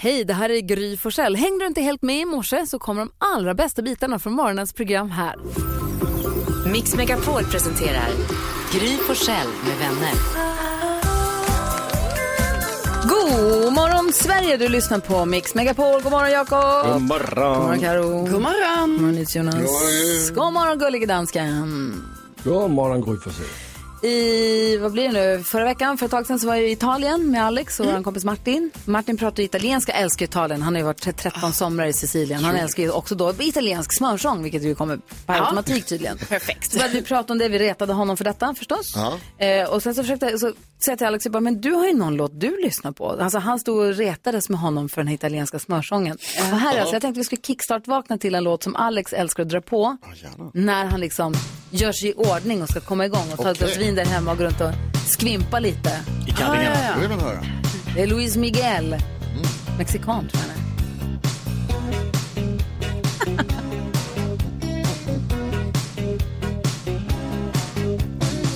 Hej, det här är Gry Forssell. Hängde du inte helt med i morse så kommer de allra bästa bitarna från morgonens program här. Mix Megapol presenterar Gry Forssell med vänner. God morgon Sverige, du lyssnar på Mix Megapol. God morgon Jakob. God God morgon morgon. Karo. God morgon. God morgon Jonas. morgon. God morgon gullige dansken. God morgon Gry Forssell. I, vad blir det nu, förra veckan, för ett tag sedan så var jag i Italien med Alex och vår kompis Martin. Martin pratar ju italienska, älskar Italien. Han har ju varit 13 somrar i Sicilien. Han älskar ju också då italiensk smörsång, vilket ju kommer per automatik tydligen. Perfekt. Så började vi prata om det, vi retade honom för detta förstås. Eh, och sen så försökte jag så säga till Alex, jag bara, men du har ju någon låt du lyssnar på. Alltså han stod och retades med honom för den här italienska smörsången. Och här är alltså, jag tänkte vi skulle kickstart-vakna till en låt som Alex älskar att dra på. När han liksom gör sig i ordning och ska komma igång och ta ett Okej. glas vin där hemma och gå runt och skvimpa lite. Ah, I kallingarna. Då vill man höra. Det är Luis Miguel, mexikan tror jag han är.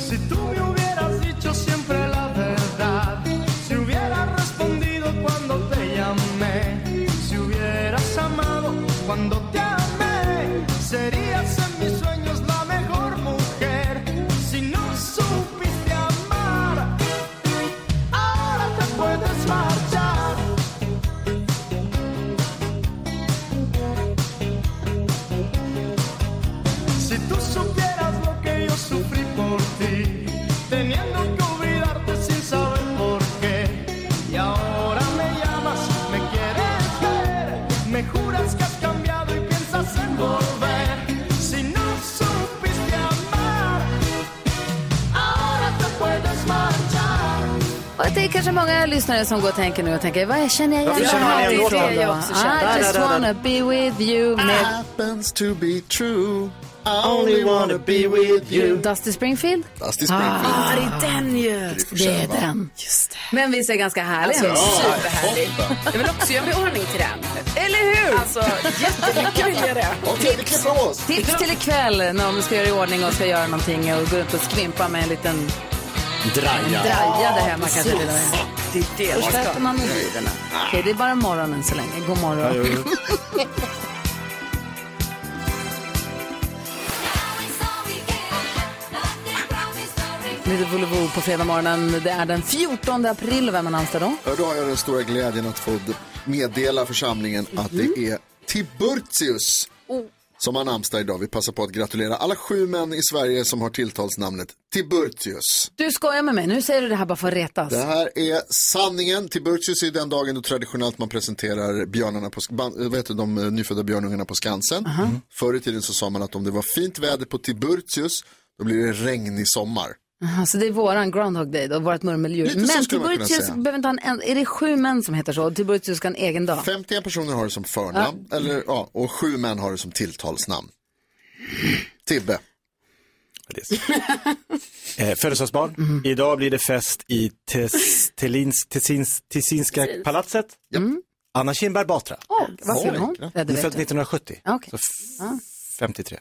Si tú me hubieras dicho siempre la verdad, si hubieras respondido cuando te llamé, si hubieras amado cuando te amé, serías en mis sueños la mejor mujer. Si no supiste amar, ahora te puedes marchar. Si tú supieras lo que yo sufrí por ti, teniendo que olvidarte sin saber por qué. Y ahora me llamas, me quieres ver, me juras que has cambiado y piensas en volver. Si no supiste amar, ahora te puedes marchar. Och det är kanske många lyssnare som går och tänker nu och tänker, vad känner jag igen Varför känner man igen det? låten? är jag också känner. I just wanna be with you med Happens to be true. I only wanna be with you. Dusty Springfield. Dusty Springfield. det är den ju! Det är den. Men visst är det ganska härlig? Superhärligt. Jag vill också göra mig i ordning till den. Eller hur? Alltså, jättemycket vill jag det. Okej, det klipper av oss. Tips till ikväll när de ska göra i ordning och ska göra någonting och gå runt och skvimpa med en liten Draja. draja där hemma kanske till och med. Det är Då släpper man mobilerna. Okej, det är bara morgonen så länge. God morgon. Lite Volvo på fredag morgonen. Det är den 14 april och vem har namnsdag då? Ja, Då har jag den stora glädjen att få meddela församlingen att det är Tiburtius som har namnsdag idag. Vi passar på att gratulera alla sju män i Sverige som har tilltalsnamnet Tiburtius. Du skojar med mig. Nu säger du det här bara för att retas. Det här är sanningen. Tiburtius är den dagen då traditionellt man presenterar björnarna på, Sk- ban- eh, vad heter de eh, nyfödda björnungarna på Skansen. Förr i tiden så sa man att om det var fint väder på Tiburtius, då blir det regn i sommar. Alltså det är våran Groundhog Day då, vårat murmeldjur. Lite så Men skulle man kunna Tiburtius säga. behöver inte ha en, en... Är det sju män som heter så? Och Tiburtius ska ha en egen dag. 51 personer har det som förnamn, eller, ja, och sju män har det som tilltalsnamn. Tibbe. Eh, Födelsedagsbarn. Mm. Idag blir det fest i Tes- Tellins- Tessins- Tessinska palatset. Mm. Anna Kinberg Batra. Åh, vad fyller hon? läckra. Ja, Hon det är vet född jag. 1970. Ja, Mm. okej. Så f- 53.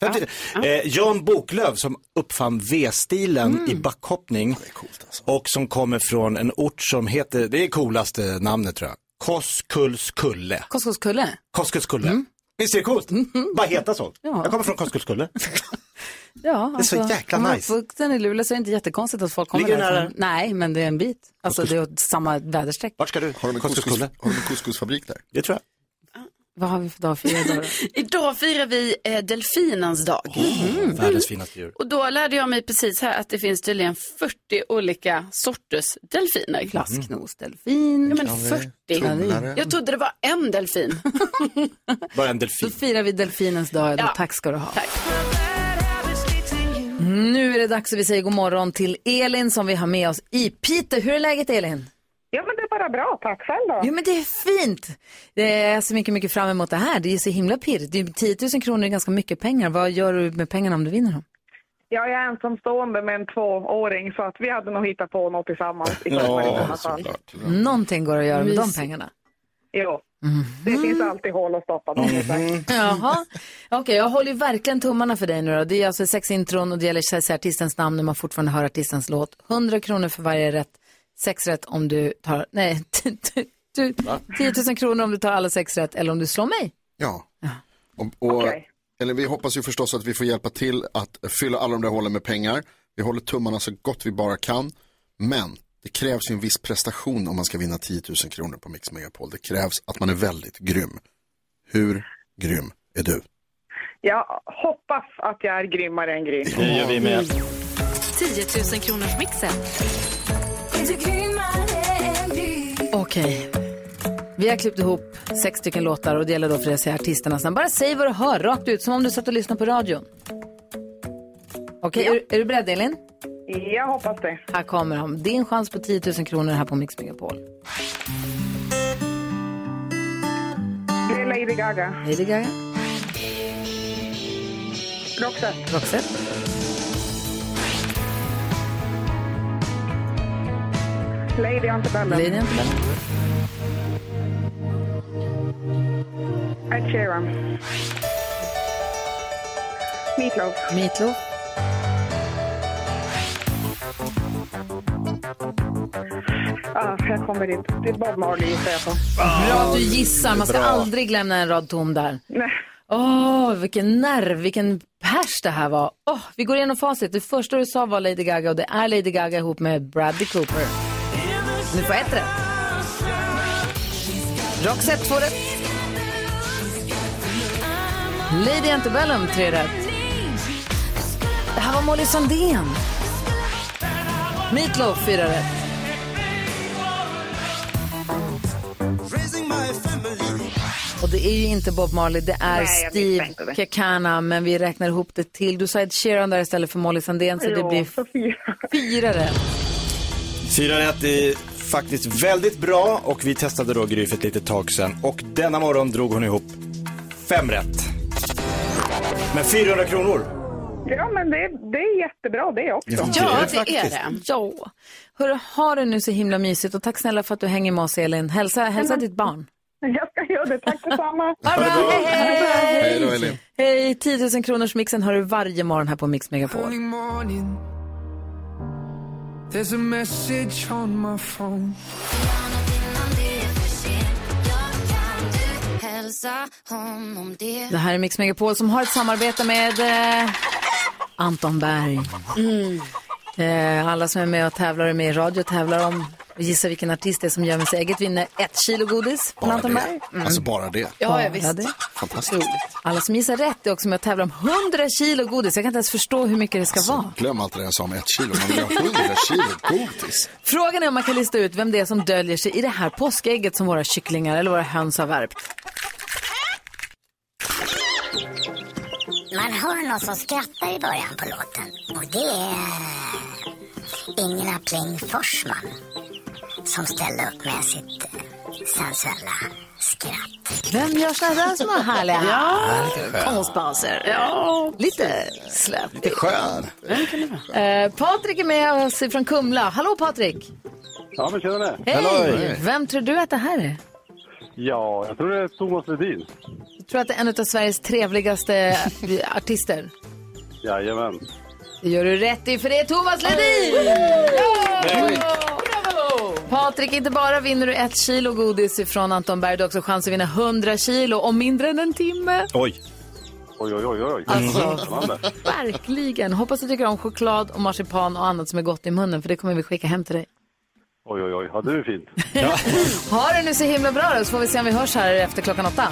53. Eh, Jan Boklöv som uppfann V-stilen Mm. i backhoppning. alltså. Och som kommer från en ort som heter, det är coolaste namnet tror jag, Koskullskulle. Koskovskulle. Koskullskulle. Mm. Visst är det coolt? Bara heta så. Jag kommer från Koskullskulle. Ja, är så jäkla om man är nice. uppvuxen i Luleå så är det inte jättekonstigt att folk kommer Ligger den här- därifrån. Nej, men det är en bit. Alltså det är åt samma väderstreck. Vart ska du? Har de en couscous- Koskullskulle. har de en couscousfabrik där? Det tror jag. Vad har vi för dag för idag då? Idag firar vi eh, delfinens dag. Mm. Mm. Världens finaste djur. Och då lärde jag mig precis här att det finns tydligen 40 olika sorters delfiner. Glasknosdelfin. Ja, men 40. Tumlare. Jag trodde det var en delfin. Bara en Då delfin. firar vi delfinens dag idag. Ja. Tack ska du ha. Nu är det dags att vi säger god morgon till Elin som vi har med oss i Piteå. Hur är läget Elin? Ja, men det är bara bra. Tack själv då. Jo men det är fint. Det är jag så mycket, mycket fram emot det här. Det är ju så himla pirrigt. Det är 10 000 kronor är ganska mycket pengar. Vad gör du med pengarna om du vinner dem? Jag är ensamstående med en tvååring så att vi hade nog hittat på något tillsammans. I ja, såklart. Mm. Någonting går att göra med de pengarna. Jo. Mhm. Det finns alltid hål att stoppa dem i. säkert. Jaha. Okej, jag håller ju verkligen tummarna för dig nu då. Det är alltså sex intron och det gäller att säga artistens namn när man fortfarande hör artistens låt. 100 kronor för varje rätt. Sex rätt om du tar, nej, t- t- Du, 10 000 kronor om du tar alla sex rätt eller om du slår mig. Ja. Och, och, Okej. Eller vi hoppas ju förstås att vi får hjälpa till att fylla alla de där hålen med pengar. Vi håller tummarna så gott vi bara kan. Men det krävs ju en viss prestation om man ska vinna 10 000 kronor på Mix Megapol. Det krävs att man är väldigt grym. Hur grym är du? Jag hoppas att jag är grymmare än grym. Det gör vi med. Mm. 10 000 kronors mixen. Okej. Vi har klippt ihop sex stycken låtar och det gäller då för dig att säga artisternas namn. Bara säg vad du hör rakt ut, som om du satt och lyssnade på radion. Okej, är, är du beredd Elin? Jag hoppas det. Här kommer de. Din chans på 10 000 kronor här på Mix Megapol. Det är Lady Gaga. Lady Gaga, Roxette. Roxette. Lady Antebellum. Lady Antebellum. Ed Sheeran. Meatloaf. Meatloaf. Ah, jag kommer inte. Det är Bob Marley gissar jag på. Bra att du gissar. Man ska aldrig lämna en rad tom där. Nej. Åh, vilken nerv, vilken pers det här var. Åh, vi går igenom facit. Det första du sa var Lady Gaga och det är Lady Gaga ihop med Bradley Cooper. Nu får jag ett rätt. Roxette får rätt. Lady Antebellum, tre rätt. Det här var Molly Sandén. Meatloaf, fyra rätt. Och det är ju inte Bob Marley, det är Nej, jag Steve misstänkte det. Kekana, men vi räknar ihop det till. Du sa Ed Sheeran där istället för Molly Sandén, så det Ja, blir Sofia. fyra rätt. Fyra rätt är faktiskt väldigt bra och vi testade då Gry för ett litet tag sedan och denna morgon drog hon ihop fem rätt. Men 400 kronor. Ja, men det, det är jättebra det också. Ja, det är det. Ja. Hörru, ha det nu så himla mysigt och tack snälla för att du hänger med oss Elin. Hälsa, hälsa ditt barn. Jag ska göra det. Tack detsamma. Bra, hej, hej! Hej då Elin. Hej, 10 000 kronors mixen hör du varje morgon här på Mix Megapol. morning. There's a message on my phone. Det här är Mix Megapol som har ett samarbete med eh, Anton Berg. Mm. Eh, alla som är med och tävlar är med i radio och tävlar om och gissa vilken artist det är som gör med sig eget vinner ett kilo godis från Anton Berg. Alltså bara det. Ja, Ja, jag visst. det. Fantastiskt. Alla som gissar rätt är också med och tävlar om 100 kilo godis. Jag kan inte ens förstå hur mycket det ska Alltså, vara. Glöm allt det där jag sa om ett kilo. Man vill ha 100 kilo godis. Frågan är om man kan lista ut vem det är som döljer sig i det här påskägget som våra kycklingar eller våra höns har värpt. Man hör någon som skrattar i början på låten och det är Ingela Pling Forsman som ställde upp med sitt eh, sensuella skratt. Vem gör sådana där små härliga konstpauser? Ja, lite släpigt. Skön. Eh, Patrik är med oss från Kumla. Hallå Patrik! Ja, men tjenare. Hej! Hallå. Vem tror du att det här är? Ja, jag tror det är Thomas Ledin. Jag tror att det är en av Sveriges trevligaste artister. Jajamän. Det gör du rätt i, för det är Thomas Ledin! Ja! Patrik, inte bara vinner du ett kilo godis från Anton Berg, du har också chans att vinna 100 kilo om mindre än en timme. Oj. Oj, oj, oj, oj. Spännande. Verkligen! Hoppas du tycker om choklad och marsipan och annat som är gott i munnen, för det kommer vi skicka hem till dig. Oj, oj, oj. Ja, det är fint. Ha det nu så himla bra då, så får vi se om vi hörs här efter klockan åtta.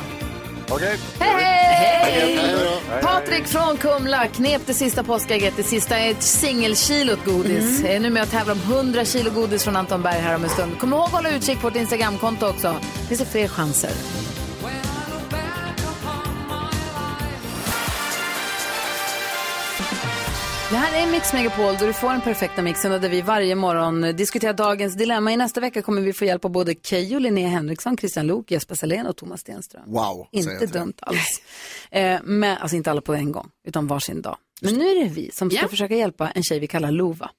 Okej. Hej, hej! Hej då. Patrik från Kumla knep det sista påskägget. Det sista är ett singelkilot godis. Är nu med och tävlar om 100 kilo godis från Anton Berg här om en stund. Kom ihåg att hålla utkik på vårt Instagramkonto också. Det finns det fler chanser. Det här är Mix Megapol där du får den perfekta mixen och där vi varje morgon diskuterar dagens dilemma. I nästa vecka kommer vi få hjälp av både Keyyo, Linnea Henriksson, Christian Lok, Jesper Salén och Thomas Stenström. Wow, säger jag Inte till dig. dumt alls. Eh, men, alltså inte alla på en gång, utan varsin dag. Men nu är det vi som ska försöka hjälpa en tjej vi kallar Lova.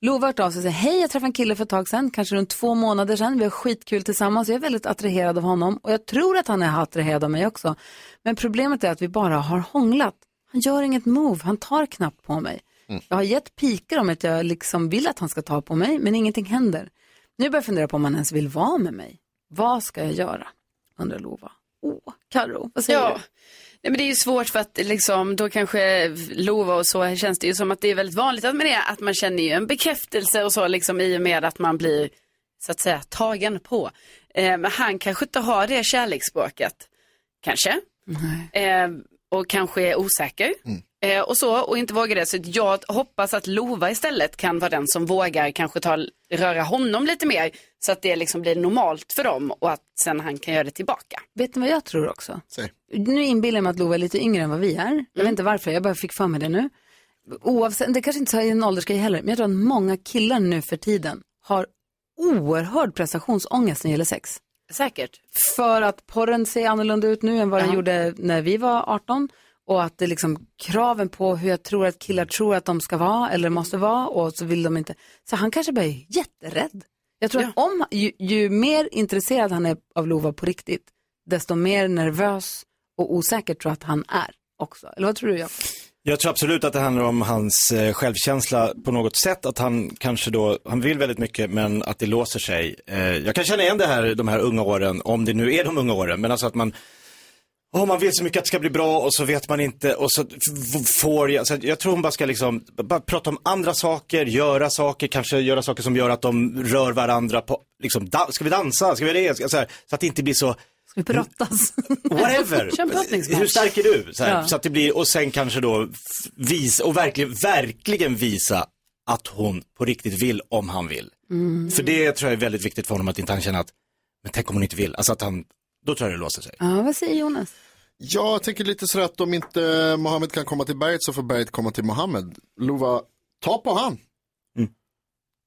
Lova har hört av sig och säger, hej jag träffade en kille för ett tag sedan, kanske runt två månader sedan, vi har skitkul tillsammans, jag är väldigt attraherad av honom och jag tror att han är attraherad av mig också. Men problemet är att vi bara har hånglat. Han gör inget move, han tar knappt på mig. Jag har gett pikar om att jag liksom vill att han ska ta på mig, men ingenting händer. Nu börjar jag fundera på om han ens vill vara med mig. Vad ska jag göra? Undrar Lova. Karo, vad säger ja. du? Nej, men det är ju svårt för att liksom, då kanske Lova och så känns det ju som att det är väldigt vanligt att man, är, att man känner ju en bekräftelse och så liksom i och med att man blir så att säga tagen på. Eh, men han kanske inte har det kärleksspråket, kanske. Eh, och kanske är osäker. Eh, och så, och inte vågar det. Så jag hoppas att Lova istället kan vara den som vågar kanske ta, röra honom lite mer. Så att det liksom blir normalt för dem och att sen han kan göra det tillbaka. Vet ni vad jag tror också? Säg. Nu inbillar jag mig att Lova är lite yngre än vad vi är. Jag vet inte varför, jag bara fick för mig det nu. Oavsett, det kanske inte är en åldersgrej heller, men jag tror att många killar nu för tiden har oerhörd prestationsångest när det gäller sex. Säkert. För att porren ser annorlunda ut nu än vad den gjorde när vi var 18. Och att det liksom kraven på hur jag tror att killar tror att de ska vara eller måste vara och så vill de inte. Så han kanske bara är jätterädd. Jag tror att om, ju, ju mer intresserad han är av Lova på riktigt, desto mer nervös och osäker tror jag att han är också. Eller vad tror du, Jakob? Jag tror absolut att det handlar om hans eh, självkänsla på något sätt. Att han kanske då, han vill väldigt mycket men att det låser sig. Eh, jag kan känna igen det här, de här unga åren, om det nu är de unga åren. Men alltså att man, åh man vill så mycket att det ska bli bra och så vet man inte och så f- f- får jag, så att jag tror hon bara ska liksom, bara prata om andra saker, göra saker, kanske göra saker som gör att de rör varandra på, liksom, da- ska vi dansa, ska vi det, Ska- så, här, så att det inte blir så Ska vi brottas? Whatever. Kör en brottningsmatch. Hur stark är du? Så, här, Ja. så att det blir, och sen kanske då f- visa, och verkligen, verkligen visa att hon på riktigt vill om han vill. Mm. För det tror jag är väldigt viktigt för honom att inte han känner att, men tänk om hon inte vill. Alltså att han, då tror jag det låser sig. Ja, vad säger Jonas? Jag tänker lite sådär att om inte Mohammed kan komma till berget så får berget komma till Mohammed. Lova, ta på han.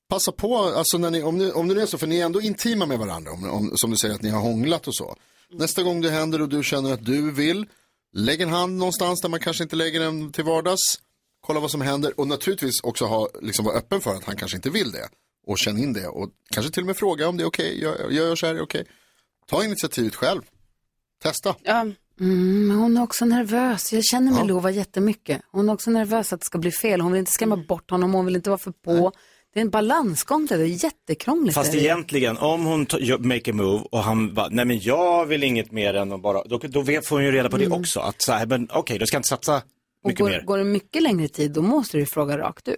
Passa på, alltså när ni, om, ni, om det nu är så, för ni är ändå intima med varandra, om, om, som du säger att ni har hånglat och så. Nästa gång det händer och du känner att du vill, lägg en hand någonstans där man kanske inte lägger den till vardags. Kolla vad som händer och naturligtvis också ha, liksom vara öppen för att han kanske inte vill det. Och känn in det och kanske till och med fråga om det är okej, jag, jag gör så här, är det okej. Ta initiativet själv, testa. Mm, men hon är också nervös. Jag känner med Lova jättemycket. Hon är också nervös att det ska bli fel. Hon vill inte skrämma bort honom, hon vill inte vara för på. Det är en balansgång det där, det är jättekrångligt. Fast är det. egentligen, om hon ta- gör- make a move och han bara, nej men jag vill inget mer än att bara, då, då vet- får hon ju reda på det också. Att så här, men okej, då ska jag inte satsa Mm. Och mycket mer. går, går det mycket längre tid, då måste du ju fråga rakt ut.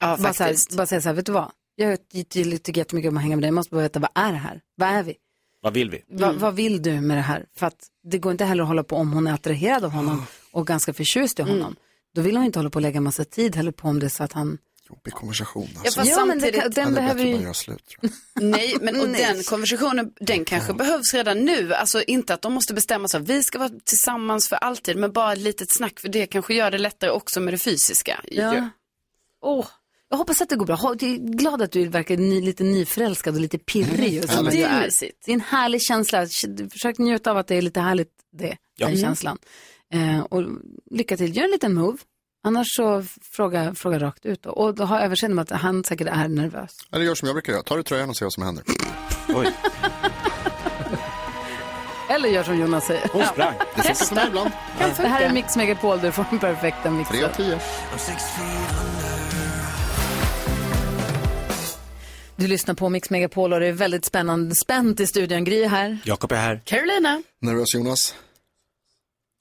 Ja, bara, så här, bara säga så här, vet du vad? Jag tycker tycker jättemycket om att hänga med dig, jag måste bara veta, vad är det här? Vad är vi? Vad vill vi? Va, Mm. vad vill du med det här? För att det går inte heller att hålla på om hon är attraherad av honom Ah. och ganska förtjust i honom. Mm. Då vill hon inte hålla på och lägga massa tid heller på om det är så att han... Jobbig konversation Ja, alltså. fast Ja, men det samtidigt- kan- den Ja, det är behöver bättre ju- att bara göra slut. Nej, men och den konversationen, den kanske behövs redan nu. Alltså inte att de måste bestämma sig, vi ska vara tillsammans för alltid, men bara ett litet snack, för det kanske gör det lättare också med det fysiska. Ja. Åh, jag hoppas att det går bra. Ha- Jag är glad att du verkar ny, lite nyförälskad och lite pirrig. Och som Ja, det du är mysigt. Det är en härlig känsla. Försök njuta av att det är lite härligt, det, Ja. den Mm. känslan. Eh, och lycka till. Gör en liten move. Annars så fråga, fråga rakt ut. Då. Och då har jag överseende med att han säkert är nervös. Eller gör som jag brukar göra, ta du tröjan och se vad som händer. Eller gör som Jonas säger. Hon sprang. Det funkar för mig ibland. Ja. Det här är Mix Megapol, du får den perfekta mixen. Tre av tio. Du lyssnar på Mix Megapol och det är väldigt spännande. Spänt i studion. Gry är här. Jakob är här. Carolina. Nervös Jonas?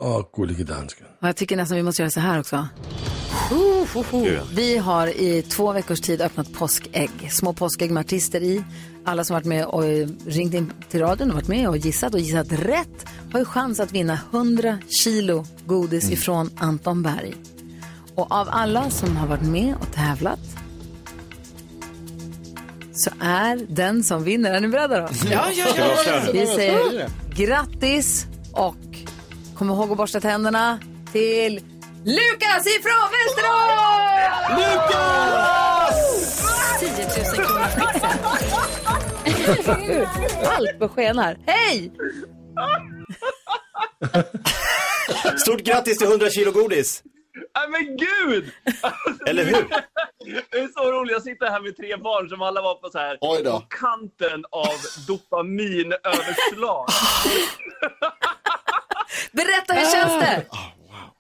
Åh, gullige dansken. Och jag tycker nästan vi måste göra så här också. Gud, ja. Vi har i två veckors tid öppnat påskägg. Små påskägg med artister i. Alla som varit med och eh, ringt in till radion och varit med och gissat och gissat rätt har ju chans att vinna 100 kilo godis ifrån Anton Berg. Och av alla som har varit med och tävlat så är den som vinner, är ni beredda då? Ja, ja, ja, ja. Vi säger grattis och kom ihåg att borsta tänderna till Lukas ifrån Västerås! Lukas! 10 000 kronor Allt på skenar. Hej! Stort grattis till 100 kilo godis! Nej Äh, men gud! Alltså, Eller hur? Det är så roligt, jag sitter här med tre barn som alla var på så här Oj då. på kanten av dopaminöverslag. Berätta, hur känns det?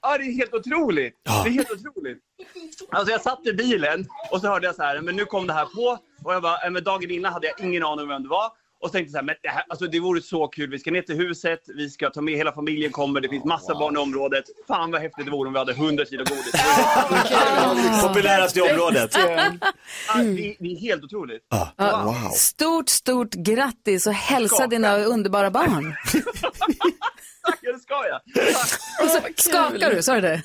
Ja, det är helt otroligt. Det är helt otroligt. Alltså jag satt i bilen och så hörde jag så här, men nu kom det här på och jag bara, eh, men dagen innan hade jag ingen aning om vem det var. Och så tänkte jag så här, men det, här, alltså, det vore så kul. Vi ska ner till huset, vi ska ta med hela familjen kommer, det finns massa barn i området. Fan vad häftigt det vore om vi hade 100 kilo godis. Populärast i området. Ja, det, det är helt otroligt. Ja, Stort, stort grattis och hälsa dina underbara barn. Ja, det ska jag. Och så skakar du, sa du det?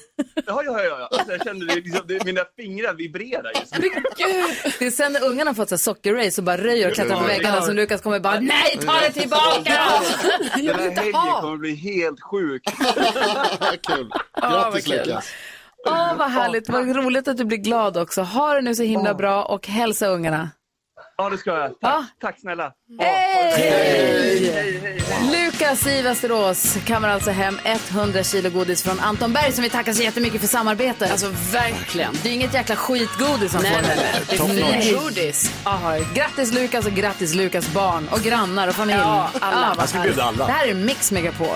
Ja, ja, ja. ja. Alltså, jag kände det, liksom, det, mina fingrar vibrerar just nu. Det är sen när ungarna har fått så här sockerrace och bara röjer och klättrar på väggarna som Lukas kommer bara nej, ta det tillbaka! Den här helgen kommer bli helt sjuk. Kul. Ja, vad Grattis kul. Lukas. Åh, vad härligt. Vad roligt att du blir glad också. Ha det nu så himla bra och hälsa ungarna. Ja, det ska jag. Tack, tack snälla. Hej! Hej, hej. Lukas i Västerås kammar alltså hem 100 kilo godis från Anton Berg som vi tackar så jättemycket för samarbetet. Alltså verkligen. Det är inget jäkla skitgodis han Nej, får. nej, nej. Det är Top fint notch. godis. Aha. Grattis Lukas och grattis Lukas barn och grannar och familj. Ja, alla. vad Jag ska bjuda härligt. alla. Det här är Mix Megapol.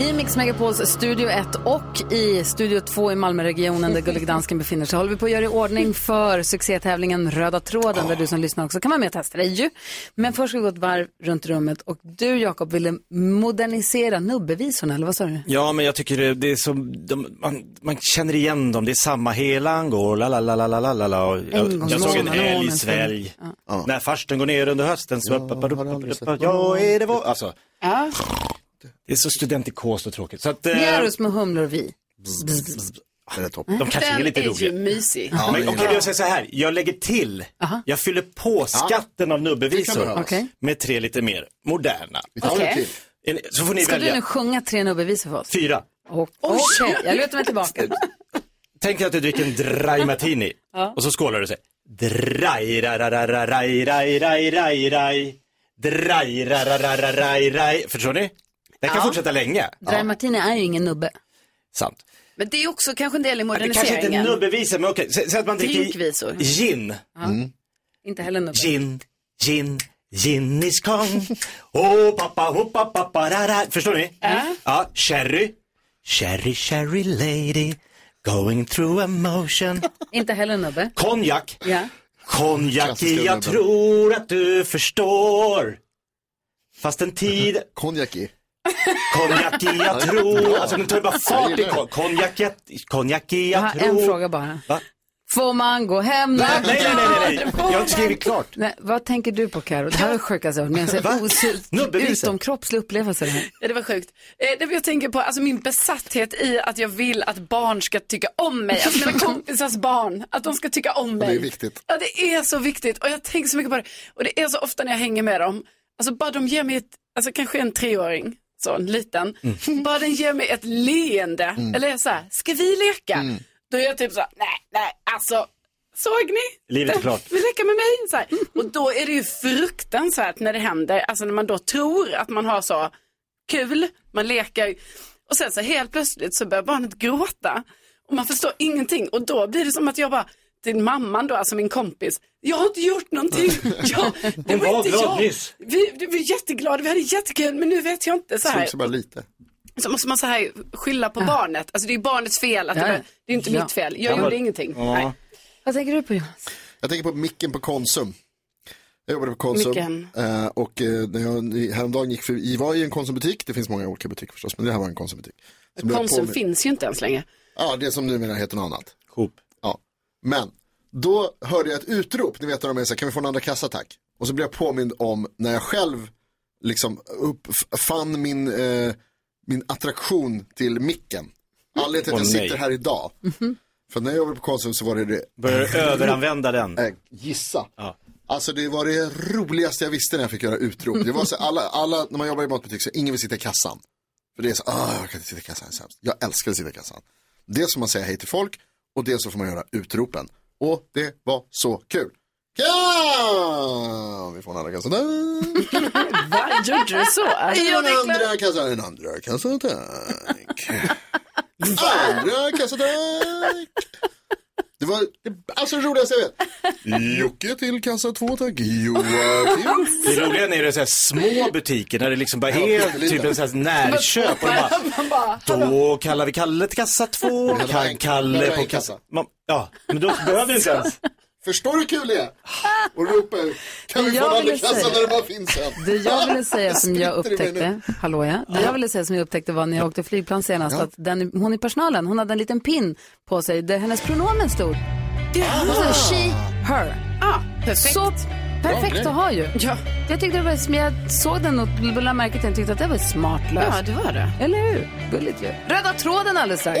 I Mix Megapols Studio 1 och i Studio 2 i Malmöregionen där Gullig Dansken befinner sig håller vi på att göra i ordning för succétävlingen Röda tråden där du som lyssnar också kan vara med och testa dig ju. Men först ska vi gå ett varv runt rummet och du Jakob ville modernisera nubbevisorna eller vad sa du? Ja, men jag tycker det, det är som, de, man, man känner igen dem, det är samma hela han går, la la la la la la la la. Och En gång Jag, jag såg en månaden, älg månaden. svälj. Ja. När farsten går ner under hösten så, ja, ja är det vad, alltså. Ja. Det är så studentikost och tråkigt. Så att, eh, Ni gör oss med humlor vi. Den är topp. De kanske är lite Den är ju roliga. mysig. Men Okej, jag säger så här. Jag lägger till. Jag fyller på skatten av Det kan nubbevisor behövas. Okej. med tre lite mer moderna. tar en Okej. till. En- Så får ni Ska du välja. nu sjunga tre nubbevisor för oss? Fyra. Och- Okej, jag lutar mig tillbaka. Tänk dig att du dricker en dry martini Ja. och så skålar du sig. Dry, ra, ra, ra, ra, raj, raj, raj, raj, raj. Dry, ra, ra, ra, ra, raj, raj. Förstår ni? Den kan Ja. fortsätta länge. Dry Martini är ju ingen nubbe. Sant. Men det är också kanske en del i Det kanske inte är moderniseringen. nubbevisor, men okej. Sä- Säg att man dricker Drinkvisor. gin. Inte heller nubbe. Gin, gin, gin is kong. Oh pappa, oh pappa, pappa, ra, ra. Förstår ni? Ja. Ja, sherry. Sherry, sherry lady, going through emotion. Inte heller nubbe. Konjak. Ja. Konjak, Klassiska jag nubben. tror att du förstår. Fast en tid... Konjaki. Konjaki, jag tror... Alltså den tar ju bara fart i kon- konjak, jag- konjaki, Jag jag har tror... Ah, en fråga bara. Va? Får man gå hem när Nej, nej, nej, nej, nej. Ja, det får Jag har inte man. skrivit klart. Nej, vad tänker du på Karo? Det här var det sjukaste jag hört. Va? Men en Nubbeviset. utomkroppslig upplevelse. Det här. Ja, det var sjukt. Eh, det var jag tänker på alltså min besatthet i att jag vill att barn ska tycka om mig. Alltså mina kompisars barn. Att de ska tycka om Det mig. är viktigt. Ja, det är så viktigt. Och jag tänker så mycket på det. Och det är så ofta när jag hänger med dem. Alltså bara de ger mig ett, alltså kanske en treåring, så en liten. Mm. Bara den ger mig ett leende. Mm. Eller så här, ska vi leka? Mm. Då är jag typ så här, nej, nej, alltså. Såg ni? Livet är klart. Vi leker med mig. Så här. Mm. Och då är det ju fruktansvärt när det händer, alltså när man då tror att man har så kul, man leker och sen så helt plötsligt så börjar barnet gråta och man förstår ingenting och då blir det som att jag bara till mamman då, alltså min kompis, jag har inte gjort någonting. Jag, det Hon var var inte glad jag. nyss. Vi, vi var jätteglada, vi hade jättekul men nu vet jag inte. Så här. Slog sig bara lite. Så måste man så här skylla på barnet. Alltså det är ju barnets fel. Att Ja, det, ja. var- det är inte Ja. mitt fel. Ja, Jag gjorde men- ingenting. Ja. Nej. Vad tänker du på Jonas? Jag tänker på micken på Konsum. Jag jobbade på Konsum Micken. eh, och eh, när jag häromdagen gick förbi, jag var i en Konsumbutik, det finns många olika butiker förstås, men det här var en Konsumbutik. Så blev jag Konsum påmin- finns ju inte ens längre. Ja, det som numera heter något annat. Coop. Ja. Men då hörde jag ett utrop, ni vet när de är så här, kan vi få en andra kassa tack? Och så blev jag påmind om när jag själv liksom uppfann min, eh, min attraktion till micken. Anledningen till att Åh, jag nej. sitter här idag. För när jag jobbade på Konsum så var det det... Börjar du överanvända den? Eh, Gissa. Alltså det var det roligaste jag visste när jag fick göra utrop. Det var så alla, alla, när man jobbar i matbutik så ingen vill sitta i kassan. För det är så, ah, jag kan inte sitta i kassan, det är sämst. Jag älskar att sitta i kassan. Dels får man säga hej till folk och dels så får man göra utropen. Och det var så kul. Ja! Vi får en andra kassa där. Vad gjorde du så? En andra kassa, en andra kassa tack. Andra kassa tack. Det var det, alltså det roligaste jag vet. Jocke till kassa två tack. Joakim. Det roliga när det är så här små butiker, när det liksom bara är typ en så här närköp. Och de bara, Man bara, då kallar vi Kalle till kassa två, Det var kan en- Kalle det var på en kassa. kassa. Man, ja, men då behöver du inte ens. Förstår du hur kul det är? Och ropa ut. Kan vi Det få jag en andra ville kassa säga- när det bara finns en? Det jag ville säga som jag Spritter i mig upptäckte, nu. hallå ja, det jag ville säga som jag upptäckte var när jag åkte flygplan senast, Ja. att den, hon i personalen, hon hade en liten pin på sig där hennes pronomen stod. Hon sa she, her. Ah, perfekt. Så perfekt grej. att ha ju. Ja. Jag tyckte det var, sm- jag såg den och lade märke till den och tyckte att det var smart löst. Ja, det var det. Eller hur? Gulligt ju. Oh! Röda tråden alldeles strax.